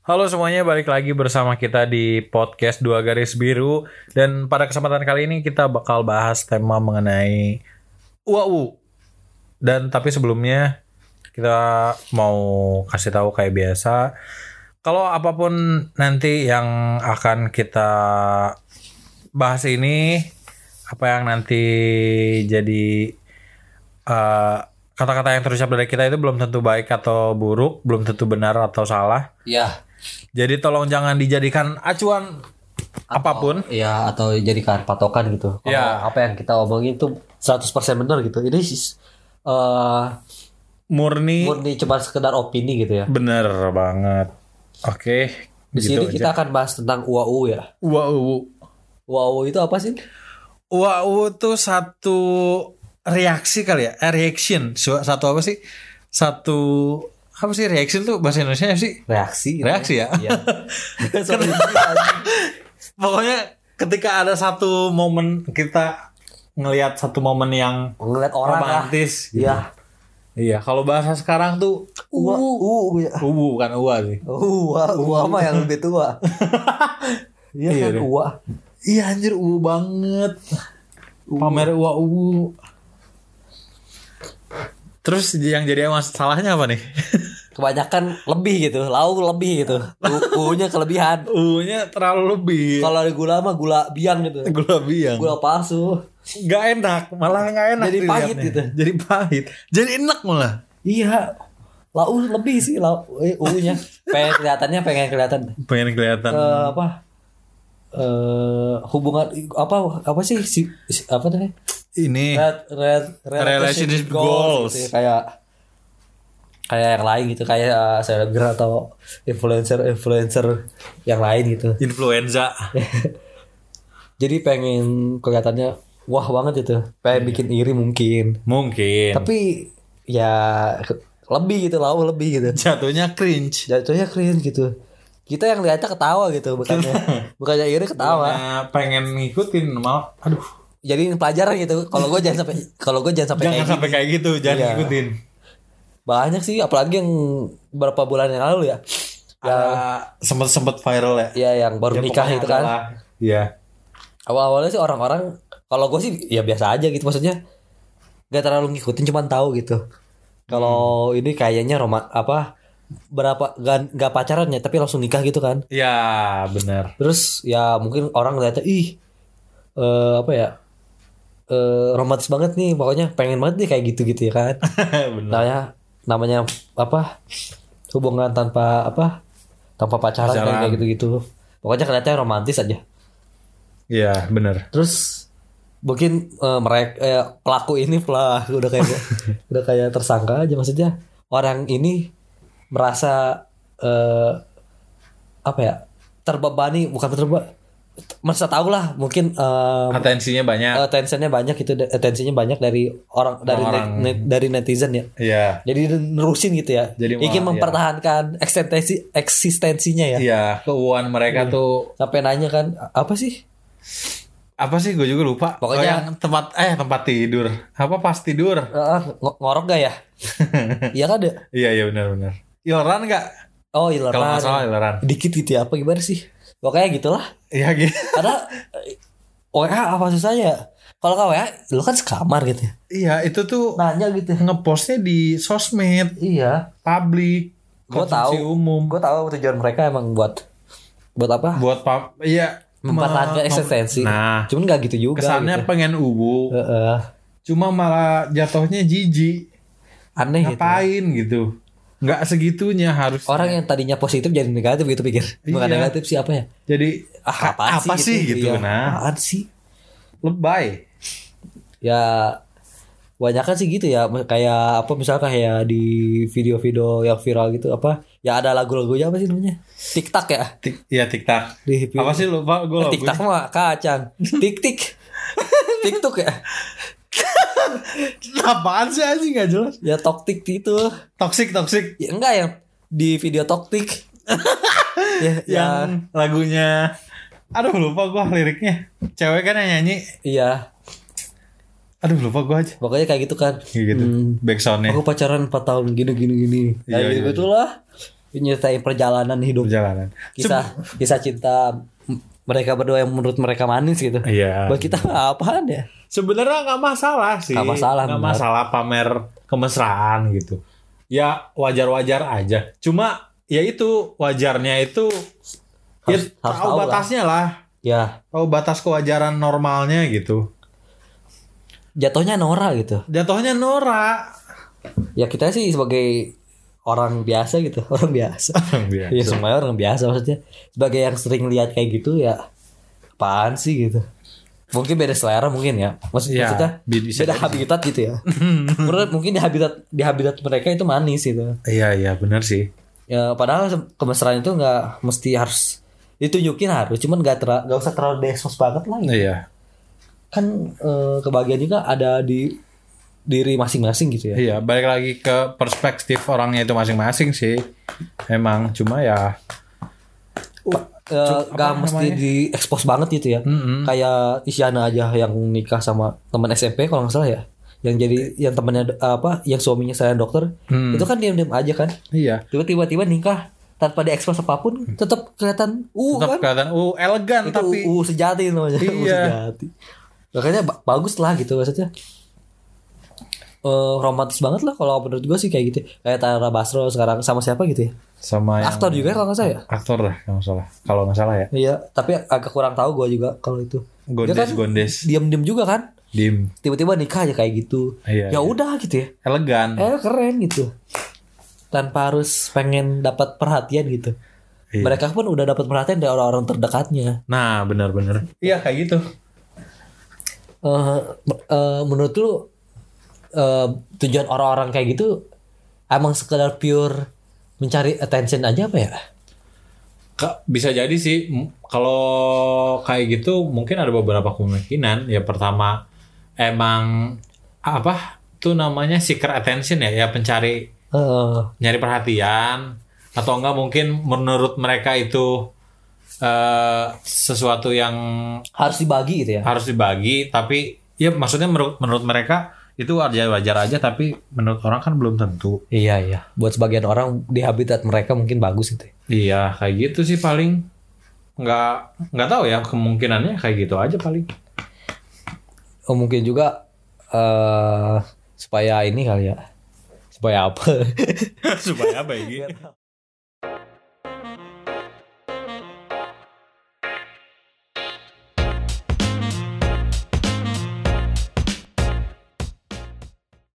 Halo semuanya, balik lagi bersama kita di podcast Dua Garis Biru dan pada kesempatan kali ini kita bakal bahas tema mengenai UAU. Dan tapi sebelumnya kita mau kasih tahu kayak biasa kalau apapun nanti yang akan kita bahas ini apa yang nanti jadi eh, kata-kata yang terucap dari kita itu belum tentu baik atau buruk, belum tentu benar atau salah. Ya. Jadi tolong jangan dijadikan acuan apapun. Ya atau jadikan patokan gitu. Kalau Ya. Apa yang kita omongin itu 100% benar gitu. Ini sis- eh Murni murni cuma sekedar opini gitu ya. bener banget. Oke, Di sini gitu aja. kita akan bahas tentang UAU ya. Wow. UAU itu apa sih? Wow tuh satu reaksi kali ya, Eh, reaction. Su- Satu apa sih? Satu apa sih reaction tuh bahasa Indonesia sih? Reaksi. Reaksi ya. Iya. Sorry, anjing. Pokoknya ketika ada satu momen kita ngelihat satu momen yang Ngeliat orang lah. romantis. gitu. Iya. Iya, kalau bahasa sekarang tuh uwu. UAU ya. Uwu bukan ua sih. Ua, ua mah yang lebih tua. Iya Iya kan deh. ua. Iya anjir uwu banget. Pamer uwa uwu. Terus yang jadi masalahnya apa nih? Kebanyakan lebih gitu, lauk lebih gitu. U-nya kelebihan. Uwunya terlalu lebih. Kalau ada gula mah gula biang gitu. Gula biang. Gula palsu. Gak enak, malah gak enak. Jadi pahit dilihatnya. gitu. Jadi pahit. Jadi enak malah. Iya. Lau lebih sih lau eh, U-nya. Pengen kelihatannya pengen kelihatan Pengen kelihatan. Eh, apa? Eh hubungan apa apa sih si, si- apa namanya? ini Red, red, Eh. Relationship goals. gitu ya, kayak kayak yang lain gitu kayak eh, selebgram atau influencer influencer yang lain gitu influenza. jadi pengen kelihatannya wah banget itu Iya. pengen bikin iri mungkin Mungkin. tapi ya ke- lebih gitu lau lebih gitu Jatuhnya cringe. jatuhnya keren gitu kita yang lihatnya ketawa gitu bukannya bukannya iri ketawa Nah, pengen ngikutin malah aduh. jadi pelajaran gitu kalau gue jangan sampai kalau gue jangan sampai Jangan kayak sampai kayak gitu, jangan Iya. ngikutin. gini. banyak sih apalagi yang beberapa bulan yang lalu ya Ah, sempet-sempet viral ya. ya yang baru Ya, nikah pokoknya gitu kan adalah- Iya. awal awalnya sih orang-orang kalau gue sih ya biasa aja gitu maksudnya nggak terlalu ngikutin cuman tahu gitu kalau ini kayaknya Roma apa berapa nggak nggak pacarannya tapi langsung nikah gitu kan Ya benar. Terus ya mungkin orang ngeliatnya ih eh, apa ya? eh romantis banget nih pokoknya pengen banget nih kayak gitu-gitu ya kan. benar. namanya namanya apa? Hubungan tanpa apa? Tanpa pacaran, Pacaran. kayak gitu-gitu. Pokoknya kelihatannya romantis aja. Iya benar. Terus mungkin eh, mereka eh, pelaku ini pelaku udah kayak udah kayak tersangka aja maksudnya orang ini merasa eh, apa ya terbebani bukan terba merasa tahu lah mungkin eh, Atensinya banyak. attentionnya banyak itu attentionnya banyak dari orang dari net- Orang. net- dari netizen ya Iya. jadi nerusin gitu ya Jadi malah, ingin iya. mempertahankan eksistensi eksistensinya ya Iya. Keuangan mereka tuh sampai nanya kan apa sih apa sih? Gue juga lupa. Oh, Pokoknya- yang tempat eh tempat tidur. Apa pas tidur? Ah, ng- ngorok gak ya iya kan ada Iya iya benar benar. Ileran nggak? Oh Kalau nggak ileran salah ileran. Dikit gitu ya apa gimana sih Pokoknya gitulah Iya gitu. Karena eh, WA apa susahnya Kalau nggak WA Lu kan sekamar gitu ya Iya itu tuh Nanya gitu ngepostnya di sosmed Iya publik Gua konsumsi tahu. umum Gue tahu tujuan mereka emang buat Buat apa buat pub iya Mempertahankan me- eksistensi Nah Cuman nggak gitu juga kesannya gitu. pengen uwu Heeh. cuma malah jatuhnya jijik Aneh gitu ngapain gitu nggak segitunya harus Orang yang tadinya positif jadi negatif gitu pikir Bukan Iya. negatif sih apa ya jadi ah, apa, apaan sih gitu, Iya, nah apaan sih lebay ya banyak kan sih gitu ya kayak apa misalnya kayak di video-video yang viral gitu apa ya ada lagu-lagunya apa sih namanya tiktak ya Tik, ya tiktak di apa sih lupa gue lagu tiktak mah kacang tik tik tiktok ya apaan sih aja nggak jelas ya toktik itu toxic toxic ya, enggak yang di video toktik ya, ya yang lagunya aduh lupa gue liriknya cewek kan yang nyanyi iya aduh lupa gue aja pokoknya kayak gitu kan Kayak gitu Hmm, back soundnya aku pacaran 4 tahun gini gini gini Iya, ya iya, gitu lah nyeritain perjalanan hidup perjalanan. kisah kisah cinta m- mereka berdua yang menurut mereka manis gitu. Iya. Buat kita mah apaan ya? Sebenarnya nggak masalah sih. Nggak masalah, Nggak benar. masalah pamer kemesraan gitu. Ya wajar-wajar aja. Cuma ya itu wajarnya itu ya Harus- harus tahu tahu lah. batasnya lah. Ya Tahu batas kewajaran normalnya gitu. jatuhnya Nora gitu. Jatuhnya Nora. Ya kita sih sebagai orang biasa gitu, orang biasa. Biasa. Ya semuanya orang biasa maksudnya. Sebagai yang sering lihat kayak gitu ya apaan sih gitu. Mungkin beda selera mungkin ya. Maksud, Ya, maksudnya bi- bisa beda jadi. habitat gitu ya. Menurut mungkin di habitat di habitat mereka itu manis gitu. Iya iya benar sih. Ya, padahal se- kemesraan itu nggak mesti harus ditunjukin harus, cuman nggak ter nggak usah terlalu desos banget lah. gitu. Iya. Kan eh, kebahagiaan juga ada di diri masing-masing gitu ya. Iya, balik lagi ke perspektif orangnya itu masing-masing sih. Emang cuma ya Eh, Nggak Uh, apa mesti namanya? Mm-hmm. diekspos banget gitu ya. Mm-mm. Kayak Isyana aja yang nikah sama teman SMP kalau nggak salah ya. Yang jadi yang temannya do- apa, yang suaminya saya dokter, Hmm. itu kan diam-diam aja kan. iya. Tiba-tiba tiba nikah tanpa diekspos apapun, Hmm. tetap kelihatan uh Tetap kan. kelihatan uh elegan itu tapi UU sejati namanya UU Iya. sejati makanya ba- bagus lah gitu maksudnya Eh romantis banget lah kalau menurut gue sih kayak gitu kayak Tara Basro sekarang sama siapa gitu ya sama yang aktor juga kalau nggak saya aktor lah kalau nggak salah. Kalau nggak salah ya. iya tapi agak kurang tahu gue juga kalau itu Gondes Dia kan gondes. diam-diam juga kan Dim. tiba-tiba nikah aja kayak gitu Iya, ya iya. udah gitu ya Elegan. eh keren gitu tanpa harus pengen dapat perhatian gitu Iya. mereka pun udah dapat perhatian dari orang-orang terdekatnya Nah, benar-benar. Iya, kayak gitu. eh eh, menurut lu eh, tujuan orang-orang kayak gitu emang sekedar pure mencari attention aja apa ya? Ka- bisa jadi sih M- kalau kayak gitu mungkin ada beberapa kemungkinan ya pertama emang apa tuh namanya seeker attention ya ya pencari Eh, nyari perhatian atau enggak mungkin menurut mereka itu eh, sesuatu yang harus dibagi gitu ya? harus dibagi tapi ya maksudnya menurut menurut mereka itu wajar-wajar aja tapi menurut orang kan belum tentu Iya iya. Buat sebagian orang di habitat mereka mungkin bagus gitu. ya. iya kayak gitu sih paling nggak nggak tahu ya kemungkinannya kayak gitu aja paling Oh, mungkin juga eh supaya ini kali ya. Supaya apa? supaya apa ya, ini